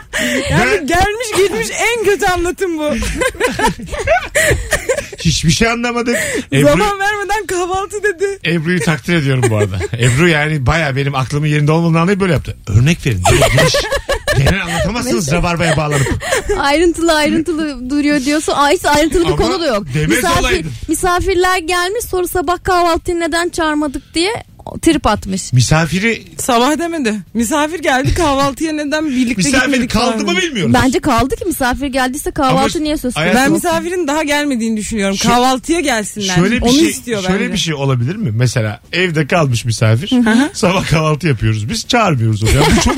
S3: yani gelmiş gitmiş en kötü anlatım bu.
S2: Hiçbir şey anlamadık. Ebru,
S3: Zaman vermeden kahvaltı dedi.
S2: Ebru'yu takdir ediyorum bu arada. Ebru yani baya benim aklımın yerinde olmadığını anlayıp böyle yaptı. Örnek verin. Böyle geniş. Genel anlatamazsınız rabarbaya bağlanıp.
S4: ayrıntılı ayrıntılı duruyor diyorsa ay hiç ayrıntılı bir
S2: Ama
S4: konu da yok.
S2: demez olaydın.
S4: misafirler gelmiş sonra sabah kahvaltıyı neden çağırmadık diye trip atmış.
S2: Misafiri,
S3: Sabah demedi. Misafir geldi kahvaltıya neden birlikte
S2: misafir
S3: gitmedik
S2: kaldı
S3: falan.
S2: mı bilmiyoruz.
S4: Bence kaldı ki misafir geldiyse kahvaltı
S2: Ama
S4: niye söz
S2: hayat-
S4: konusu?
S3: Ben
S2: Nasıl?
S3: misafirin daha gelmediğini düşünüyorum.
S2: Şu-
S3: Kahvaltıya gelsinler.
S2: Şöyle bir
S3: Onu
S2: şey,
S3: istiyor
S2: şöyle
S3: bence.
S2: bir şey olabilir mi? Mesela evde kalmış misafir. sabah kahvaltı yapıyoruz. Biz çağırmıyoruz hocam. Bu çok,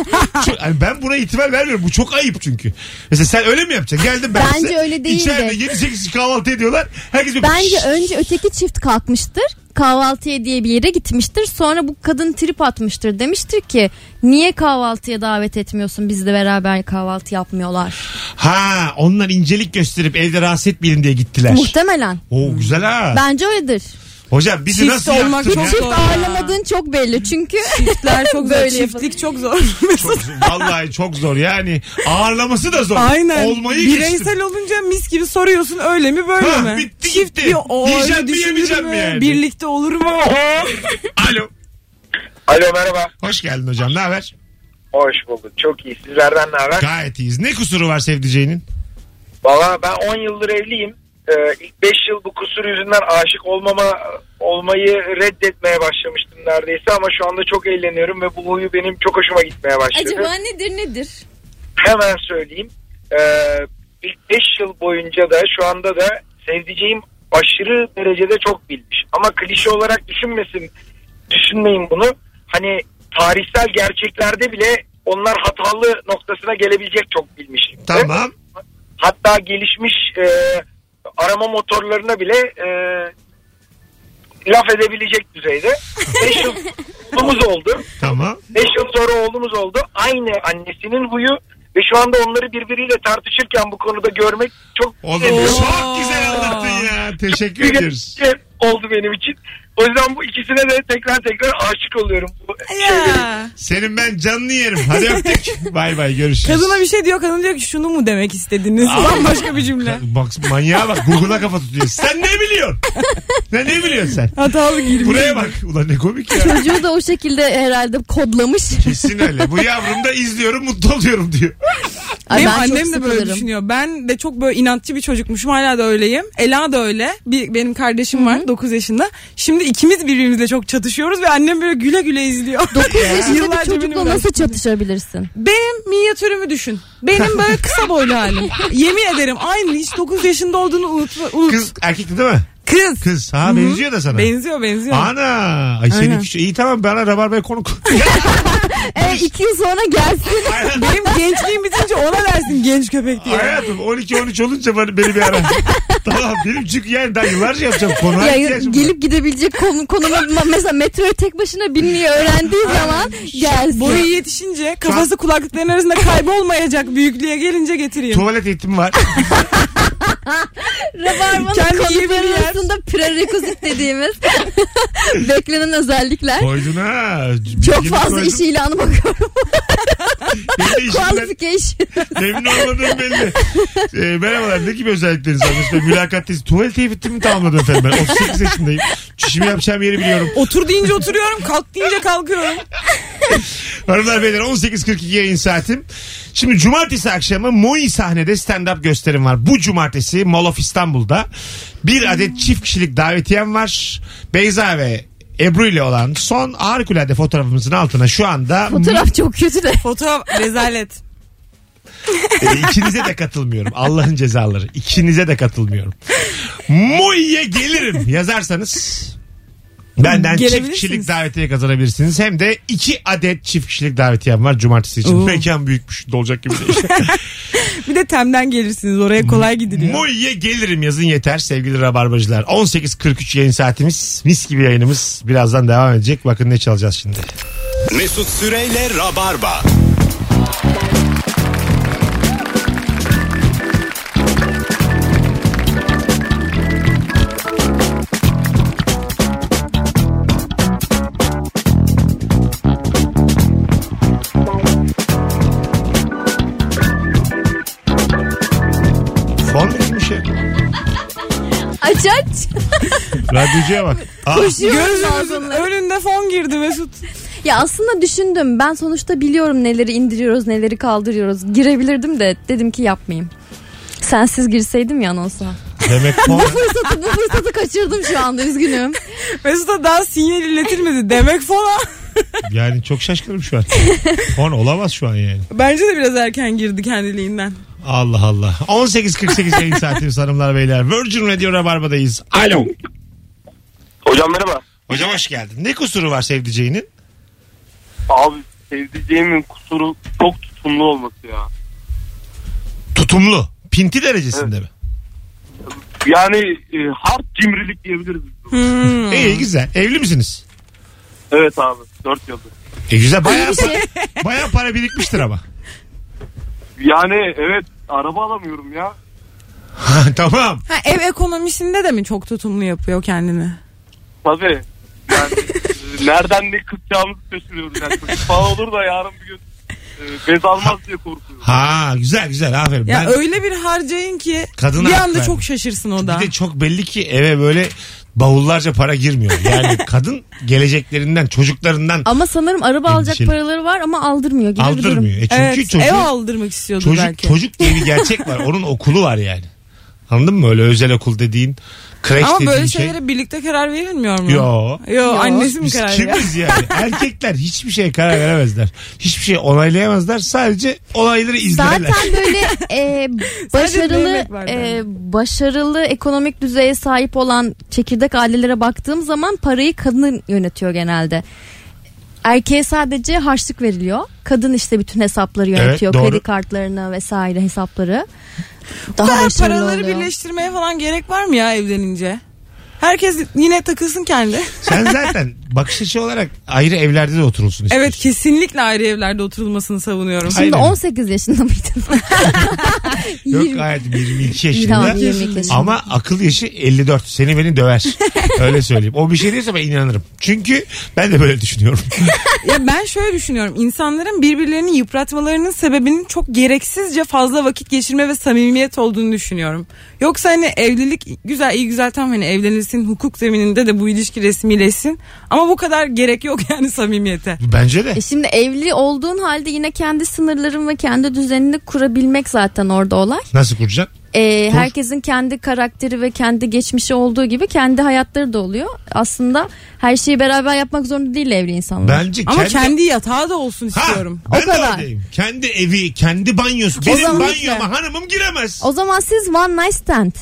S2: çok- yani ben buna itibar vermiyorum. Bu çok ayıp çünkü. Mesela sen öyle mi yapacaksın? Geldim ben
S4: Bence
S2: size.
S4: öyle değil
S2: İçeride
S4: de.
S2: 7-8 kişi kahvaltı ediyorlar. Herkes bir
S4: Bence önce öteki çift kalkmıştır. Kahvaltıya diye bir yere gitmiştir. Sonra bu kadın trip atmıştır. Demiştir ki niye kahvaltıya davet etmiyorsun? Biz de beraber kahvaltı yapmıyorlar.
S2: Ha onlar incelik gösterip evde rahatsız etmeyelim diye gittiler.
S4: Muhtemelen.
S2: Oo güzel ha.
S4: Bence öyledir.
S2: Hocam bizi
S3: Çift
S2: nasıl
S3: olmak
S2: yaktın
S3: çok
S2: ya?
S3: zor.
S4: Çift
S3: Doğru.
S4: ağırlamadığın çok belli. Çünkü
S3: Çiftler çok zor.
S4: Böyle
S3: Çiftlik çok zor.
S2: Çok zor. Vallahi çok zor yani. Ağırlaması da zor.
S3: Aynen.
S2: Olmayı
S3: Bireysel
S2: geçtim.
S3: olunca mis gibi soruyorsun öyle mi böyle
S2: Ha,
S3: mi?
S2: bitti
S3: Çift
S2: gitti.
S3: bir o öyle
S2: Yiyeceğim mi,
S3: düşünür
S2: yemeyeceğim
S3: mü?
S2: mi yani?
S3: Birlikte olur mu?
S2: Alo.
S9: Alo merhaba.
S2: Hoş geldin hocam. Ne haber?
S9: Hoş bulduk. Çok iyi. Sizlerden ne haber?
S2: Gayet iyiyiz. Ne kusuru var sevdiceğinin?
S9: Valla ben 10 yıldır evliyim. Ee, ilk 5 yıl bu kusur yüzünden aşık olmama olmayı reddetmeye başlamıştım neredeyse ama şu anda çok eğleniyorum ve bu huyu benim çok hoşuma gitmeye başladı.
S4: acaba nedir nedir?
S9: Hemen söyleyeyim. Ee, ilk 5 yıl boyunca da şu anda da sevdiceğim aşırı derecede çok bilmiş. Ama klişe olarak düşünmesin, düşünmeyin bunu. Hani tarihsel gerçeklerde bile onlar hatalı noktasına gelebilecek çok bilmişlikte.
S2: Tamam.
S9: Hatta gelişmiş e, arama motorlarına bile e, laf edebilecek düzeyde. 5 yıl oğlumuz oldu.
S2: Tamam.
S9: 5 yıl sonra oğlumuz oldu. Aynı annesinin huyu ve şu anda onları birbiriyle tartışırken bu konuda görmek çok
S2: Oğlum
S9: seviyorum.
S2: çok güzel anlattın ya. Teşekkür ederiz.
S9: Bir şey oldu benim için. O yüzden bu ikisine de tekrar tekrar aşık oluyorum. Bu şeyleri.
S3: Ya.
S2: Senin ben canını yerim. Hadi öptük. bay bay görüşürüz.
S3: Kadına bir şey diyor. Kadın diyor ki şunu mu demek istediniz? Bambaşka bir cümle.
S2: Bak manyağa bak. Google'a kafa tutuyor. Sen ne biliyorsun? Sen ne biliyorsun sen?
S3: Hatalı girmiş.
S2: Buraya bak. Ulan ne komik ya.
S4: Çocuğu da o şekilde herhalde kodlamış.
S2: Kesin öyle. Bu yavrum da izliyorum mutlu oluyorum diyor.
S4: Ay,
S3: Benim
S4: ben çok
S3: annem de böyle
S4: sıkılırım.
S3: düşünüyor. Ben de çok böyle inatçı bir çocukmuşum. Hala da öyleyim. Ela da öyle. Bir, benim kardeşim var 9 yaşında. Şimdi ikimiz birbirimizle çok çatışıyoruz ve annem böyle güle güle izliyor.
S4: 9 yaşında bir
S3: Yıllarca benim
S4: çocukla
S3: ben-
S4: nasıl çatışabilirsin?
S3: Benim minyatürümü düşün. Benim böyle kısa boylu halim. Yemin ederim aynı hiç 9 yaşında olduğunu unutma. Unut. Kız.
S2: Kız erkekti değil mi?
S3: Kız.
S2: Kız ha
S3: Hı hı.
S2: benziyor da sana.
S3: Benziyor benziyor.
S2: Ana. Ay senin
S3: Aynen.
S2: küçük. İyi tamam bana Rabarba'ya konuk.
S4: E, iki yıl sonra gelsin.
S2: Hayatım-
S3: Benim gençliğim bitince ona dersin genç köpek diye.
S2: Hayatım 12-13 olunca bana, beni bir ara. tamam benim çünkü yani daha yıllarca yapacağım konu.
S4: ya,
S2: ihtiyacım var.
S4: gelip gidebilecek konu, konuma ma- mesela metroya tek başına binmeyi öğrendiği zaman gelsin.
S3: Boyu yetişince kafası kulaklıkların arasında kaybolmayacak büyüklüğe gelince getireyim.
S2: Tuvalet eğitimi var.
S4: Rabarbanın
S3: Kendi iyi bir
S4: konuların
S3: yer.
S4: arasında prerequisit dediğimiz beklenen özellikler.
S2: Koydun ha.
S4: Çok
S2: Bilgini
S4: fazla
S2: koydun.
S4: iş ilanı bakıyorum.
S2: Benim de işimden-
S4: Qualification.
S2: Memnun olmadığım belli. Ee, merhabalar ne gibi özellikleriniz var? İşte mülakatteyiz. Tuvalet eğitimimi tamamladım efendim ben. 38 yaşındayım. Çişimi yapacağım yeri biliyorum.
S3: Otur deyince oturuyorum, kalk deyince kalkıyorum.
S2: Hanımlar beyler 18.42 yayın saatim. Şimdi cumartesi akşamı Moi sahnede stand-up gösterim var. Bu cumartesi Mall of İstanbul'da bir adet çift kişilik davetiyem var. Beyza ve Ebru ile olan son harikulade fotoğrafımızın altına şu anda
S4: Fotoğraf çok kötü de.
S3: Fotoğraf rezalet.
S2: E, İkinize de katılmıyorum. Allah'ın cezaları. İkinize de katılmıyorum. Moi'ye gelirim yazarsanız benden çift
S3: Gelebilirsiniz.
S2: kişilik davetiye kazanabilirsiniz. Hem de iki adet çift kişilik davetiyem var cumartesi için.
S3: Oo.
S2: Mekan büyükmüş. Dolacak gibi değil.
S3: Bir de temden gelirsiniz oraya kolay gidiliyor.
S2: Moi'ye gelirim yazın yeter sevgili rabarbacılar. 18.43 yayın saatimiz. Mis gibi yayınımız. Birazdan devam edecek. Bakın ne çalacağız şimdi.
S1: Mesut Süreyle Rabarba.
S2: Fon mu girmiş ya?
S4: Aç aç.
S2: Radyocuya bak. Aa,
S4: Koşuyoruz
S3: Gözümüzün
S4: ağzımla.
S3: önünde fon girdi Mesut.
S4: Ya aslında düşündüm. Ben sonuçta biliyorum neleri indiriyoruz, neleri kaldırıyoruz. Girebilirdim de dedim ki yapmayayım. Sensiz girseydim ya anonsa.
S2: demek fon.
S4: Fırsatı, bu fırsatı kaçırdım şu anda üzgünüm.
S3: Mesut'a daha sinyal iletilmedi. Demek fona.
S2: Yani çok şaşkınım şu an. Fon olamaz şu an yani.
S3: Bence de biraz erken girdi kendiliğinden.
S2: Allah Allah. 18.48 yayın saatimiz hanımlar beyler. Virgin Radio Rabarba'dayız. Alo.
S7: Hocam merhaba.
S2: Hocam hoş geldin. Ne kusuru var sevdiceğinin?
S7: Abi sevdiceğimin kusuru çok tutumlu olması ya.
S2: Tutumlu. Pinti derecesinde mi?
S7: Yani e, hard cimrilik diyebiliriz. biz buna.
S3: Hmm.
S2: İyi güzel. Evli misiniz?
S7: Evet abi 4 yıldır.
S2: E güzel. Bayağı,
S4: Bir şey.
S2: bayağı para birikmiştir ama.
S7: Yani evet araba alamıyorum ya.
S2: Ha, tamam.
S3: Ha, ev ekonomisinde de mi çok tutumlu yapıyor kendini?
S7: Tabii. Yani e, nereden ne kısacağımızı şaşırıyoruz. Yani çocuk falan olur da yarın bir gün e, bez almaz diye korkuyoruz.
S2: Ha güzel güzel aferin.
S3: Ya
S2: ben,
S3: öyle bir harcayın ki
S2: Kadına
S3: bir
S2: hak
S3: anda
S2: ver.
S3: çok şaşırsın o da.
S2: bir de çok belli ki eve böyle bavullarca para girmiyor. Yani kadın geleceklerinden, çocuklarından
S4: Ama sanırım araba alacak
S2: Endişeli.
S4: paraları var ama aldırmıyor. Gibi bir durum.
S2: aldırmıyor. E çünkü
S3: Evet,
S2: çocuğu-
S3: ev aldırmak istiyordu
S2: Çocuk,
S3: belki.
S2: çocuk diye bir gerçek var. Onun okulu var yani. Anladın mı? Öyle özel okul dediğin, kreş
S3: Ama
S2: dediğin
S3: böyle
S2: şey.
S3: şeylere birlikte karar verilmiyor mu?
S2: Yo.
S3: Yo, annesi mi
S2: Biz
S3: karar veriyor?
S2: kimiz yani? Erkekler hiçbir şeye karar veremezler. Hiçbir şey onaylayamazlar. Sadece olayları izlerler.
S4: Zaten böyle e, başarılı
S3: demek var
S4: e,
S3: bende.
S4: başarılı ekonomik düzeye sahip olan çekirdek ailelere baktığım zaman parayı kadın yönetiyor genelde. Erkeğe sadece harçlık veriliyor. Kadın işte bütün hesapları yönetiyor.
S2: doğru.
S4: Kredi kartlarını vesaire hesapları.
S3: Bu
S4: Daha
S3: kadar
S4: başarılı
S3: paraları
S4: oluyor.
S3: birleştirmeye falan gerek var mı ya evlenince? Herkes yine takılsın kendi.
S2: Sen zaten bakış açı olarak ayrı evlerde de oturulsun istiyorsun.
S3: Evet kesinlikle ayrı evlerde oturulmasını savunuyorum.
S4: Şimdi
S2: Aynen.
S4: 18 yaşında mıydın?
S2: Yok
S4: Yirmi-
S2: hayatım 22
S4: Tamam,
S2: yaşında.
S4: 22 yaşında.
S2: Ama akıl yaşı 54. Seni beni döver. Öyle söyleyeyim. O bir şey değilse ben inanırım. Çünkü ben de böyle düşünüyorum.
S3: Ya ben şöyle düşünüyorum. İnsanların birbirlerini yıpratmalarının sebebinin çok gereksizce fazla vakit geçirme ve samimiyet olduğunu düşünüyorum. Yoksa hani evlilik güzel iyi güzel tam hani evlenilsin hukuk zemininde de bu ilişki resmileşsin. Ama Ama bu kadar gerek yok yani samimiyete.
S2: Bence de.
S4: E şimdi evli olduğun halde yine kendi sınırların ve kendi düzenini kurabilmek zaten orada olay.
S2: Nasıl kuracaksın?
S4: E, herkesin kendi karakteri ve kendi geçmişi olduğu gibi kendi hayatları da oluyor. Aslında her şeyi beraber yapmak zorunda değil evli insanlar.
S2: Bence
S3: Ama kendi, yatağı da olsun
S2: Ha,
S3: istiyorum.
S2: ben
S4: O
S2: de
S4: kadar.
S2: oradayım. Kendi evi, kendi banyosu. Benim
S4: zaman-
S2: banyoma hanımım giremez.
S4: O zaman siz one night stand.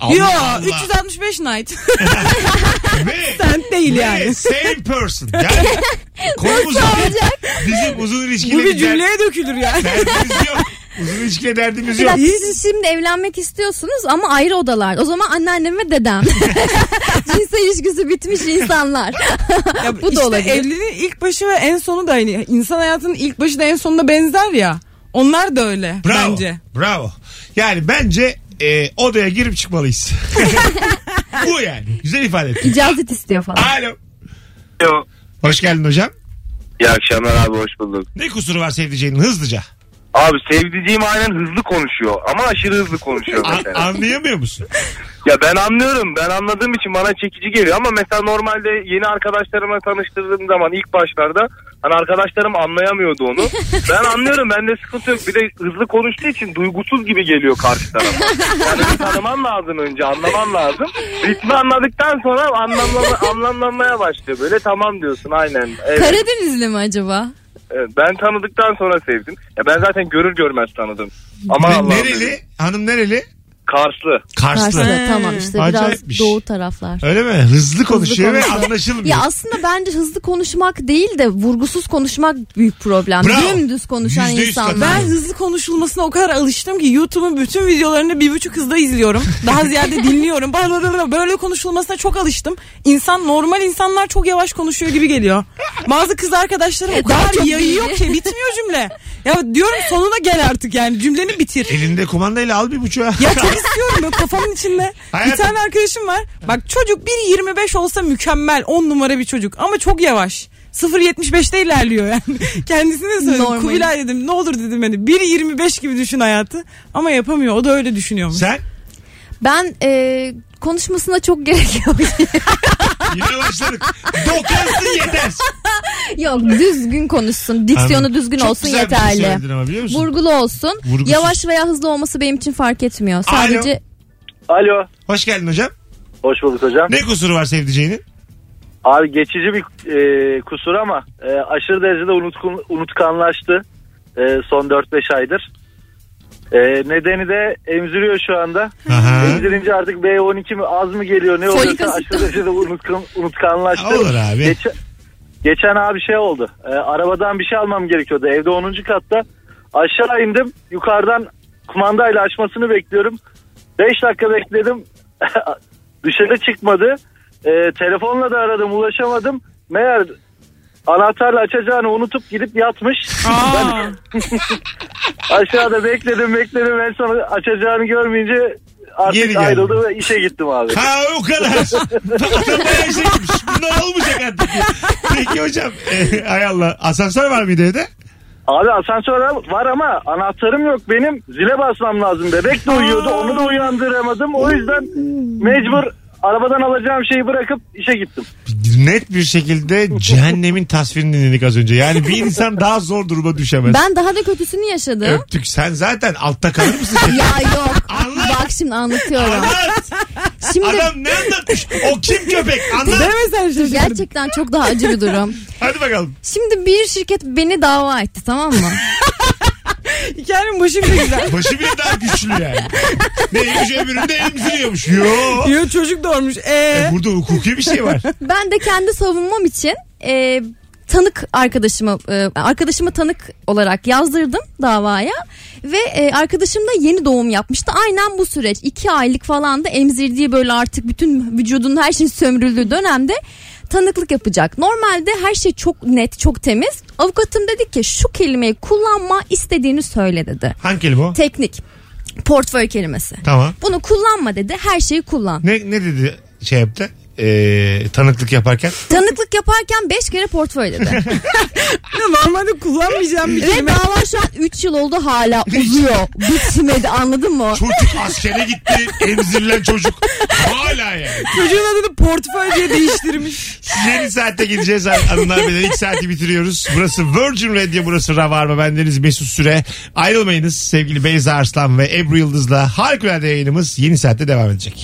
S2: Allah
S3: Yo
S2: Allah.
S3: 365 night.
S2: Ve-
S3: Sen değil
S2: ve
S3: yani.
S2: same person. Yani konumuz bizim uzun
S3: Bu
S2: ilişkiler
S3: bir cümleye dökülür yani.
S2: derdimiz yok. Uzun ilişkiler derdimiz
S4: Bir
S2: yok.
S4: dakika, siz şimdi evlenmek istiyorsunuz ama ayrı odalar. O zaman anneannem ve dedem. Cinsel ilişkisi bitmiş insanlar.
S3: Ya
S4: Bu da
S3: işte
S4: olabilir.
S3: Evliliğin ilk başı ve en sonu da aynı. İnsan hayatının ilk başı da en sonunda benzer ya. Onlar da öyle
S2: Bravo.
S3: bence.
S2: Bravo. Yani bence e, odaya girip çıkmalıyız. Bu yani. Güzel ifade ettin.
S4: İcazet istiyor falan.
S2: Alo. Hoş geldin hocam.
S7: İyi akşamlar abi hoş bulduk.
S2: Ne kusuru var sevdiceğinin hızlıca?
S7: Abi sevdiceğim aynen hızlı konuşuyor ama aşırı hızlı konuşuyor
S2: A-
S7: mesela.
S2: anlayamıyor musun?
S7: Ya ben anlıyorum. Ben anladığım için bana çekici geliyor ama mesela normalde yeni arkadaşlarıma tanıştırdığım zaman ilk başlarda hani arkadaşlarım anlayamıyordu onu. ben anlıyorum. Bende sıkıntı yok. Bir de hızlı konuştuğu için duygusuz gibi geliyor karşı tarafa. Yani bir tanıman lazım önce, anlaman lazım. Ritmi anladıktan sonra anlamlama, anlamlanmaya başlıyor. Böyle tamam diyorsun aynen. Evet.
S4: Karadenizli mi acaba?
S7: evet. Ben tanıdıktan sonra sevdim. Ya ben zaten görür görmez tanıdım. Ama
S2: Ne-
S7: Allah'ım dedim.
S2: nereli? Hanım nereli?
S7: Karslı.
S2: Karslı.
S4: Karşıda tamam işte
S2: Acayipmiş.
S4: biraz doğu taraflar.
S2: Öyle mi? Hızlı konuşuyor ve
S4: konuşuyor.
S2: anlaşılmıyor.
S4: Ya aslında bence hızlı konuşmak değil de vurgusuz konuşmak büyük problem.
S2: Bravo.
S4: Dümdüz konuşan
S2: Yüzde yüz
S4: insanlar.
S3: Ben
S2: Hmm.
S3: hızlı konuşulmasına o kadar alıştım ki YouTube'un bütün videolarını bir buçuk hızda izliyorum. Daha ziyade dinliyorum. Bla bla bla bla. Böyle konuşulmasına çok alıştım. İnsan normal insanlar çok yavaş konuşuyor gibi geliyor. Bazı kız arkadaşlarım o
S4: daha
S3: kadar
S4: çok
S3: yayıyor
S4: bilgi.
S3: ki bitmiyor cümle. Ya diyorum sonuna gel artık yani cümleni bitir.
S2: Elinde kumandayla al bir buçuğa.
S3: Ya çok istiyorum böyle kafamın içinde.
S2: Hayatım-
S3: Bir tane arkadaşım var. Bak çocuk 1.25 olsa mükemmel 10 numara bir çocuk ama çok yavaş. 0.75'te ilerliyor yani. Kendisine de söyledim.
S4: Normal.
S3: Kubilay dedim ne olur dedim hani 1.25 gibi düşün hayatı. Ama yapamıyor o da öyle düşünüyormuş.
S2: Sen
S4: Ben e, konuşmasına çok gerek yok.
S2: yine başladık. Dokansın yeter.
S4: yok düzgün konuşsun. Diksiyonu
S2: Anladım.
S4: düzgün
S2: Çok
S4: olsun
S2: güzel bir şey
S4: yeterli.
S2: söyledin ama biliyor musun?
S4: Vurgulu olsun.
S2: Vurgusuz.
S4: Yavaş veya hızlı olması benim için fark etmiyor. Sadece
S6: Alo.
S2: Hoş geldin hocam.
S6: Hoş bulduk hocam.
S2: Ne kusuru var sevdiceğinin?
S6: Abi geçici bir e, kusur ama e, aşırı derecede unutkun, unutkanlaştı e, son 4-5 aydır. E, nedeni de emziriyor şu anda.
S2: Aha.
S6: Emzirince artık B12 mi az mı geliyor ne
S4: Folik
S6: oluyorsa
S4: asit.
S6: aşırı derecede unutkan, unutkanlaştı.
S2: Olur abi.
S6: Geçen, geçen abi şey oldu. E, arabadan bir şey almam gerekiyordu. Evde 10. katta. Aşağı indim. Yukarıdan kumandayla açmasını bekliyorum. 5 dakika bekledim. Dışarı çıkmadı. E, telefonla da aradım ulaşamadım. Meğer anahtarla açacağını unutup gidip yatmış.
S3: Aa,
S6: Aşağıda bekledim bekledim en son açacağını görmeyince artık
S2: Geri geldi.
S6: ayrıldı ve işe gittim abi.
S2: Ha o kadar. Adam bayağı şey gitmiş. Bunlar olmayacak artık. Peki hocam. e, ay Allah. Asansör var mıydı evde?
S6: Abi asansör var ama anahtarım yok benim. Zile basmam lazım. Bebek de uyuyordu. Onu da uyandıramadım. O yüzden mecbur arabadan alacağım şeyi bırakıp işe gittim.
S2: Net bir şekilde cehennemin tasvirini dinledik az önce. Yani bir insan daha zor duruma düşemez.
S4: ben daha da kötüsünü yaşadım.
S2: Öptük. Sen zaten altta kalır mısın?
S4: Ya yok.
S2: Anlat.
S4: Bak şimdi anlatıyorum.
S2: Anlat.
S4: Şimdi
S2: Adam ne anlatmış? O kim köpek? Anlat.
S3: deme sen şaşırdın.
S4: gerçekten çok daha acı bir durum.
S2: Hadi bakalım.
S4: Şimdi bir şirket beni dava etti tamam mı?
S3: Hikayenin başı bile güzel.
S2: Başı bile daha güçlü yani. Neymiş öbüründe emziriyormuş. Yo.
S3: Diyor çocuk doğurmuş. Ee,
S2: E, burada hukuki bir şey var.
S4: Ben de kendi savunmam için e, tanık arkadaşımı e, arkadaşımı tanık olarak yazdırdım davaya ve e, arkadaşım da yeni doğum yapmıştı. Aynen bu süreç iki aylık falan da emzirdiği böyle artık bütün vücudunun her şeyin sömürüldüğü dönemde tanıklık yapacak. Normalde her şey çok net, çok temiz. Avukatım dedi ki şu kelimeyi kullanma, istediğini söyle dedi.
S2: Hangi kelime o?
S4: Teknik. Portföy kelimesi.
S2: Tamam.
S4: Bunu kullanma dedi. Her şeyi kullan.
S2: Ne, ne dedi şey yaptı? e, tanıklık yaparken?
S4: Tanıklık yaparken 5 kere portföy dedi.
S3: Normalde kullanmayacağım bir
S4: Ve
S3: kelime.
S4: dava şu an 3 yıl oldu hala uzuyor. Bitmedi anladın mı?
S2: Çocuk askere gitti. Emzirilen çocuk. Hala yani.
S3: Çocuğun adını portföy diye değiştirmiş.
S2: Yeni saatte gideceğiz hanımlar beyler. İlk saati bitiriyoruz. Burası Virgin Radio, burası Rabarba. Bendeniz Mesut Süre. Ayrılmayınız sevgili Beyza Arslan ve Ebru Yıldız'la harikulade yayınımız yeni saatte devam edecek.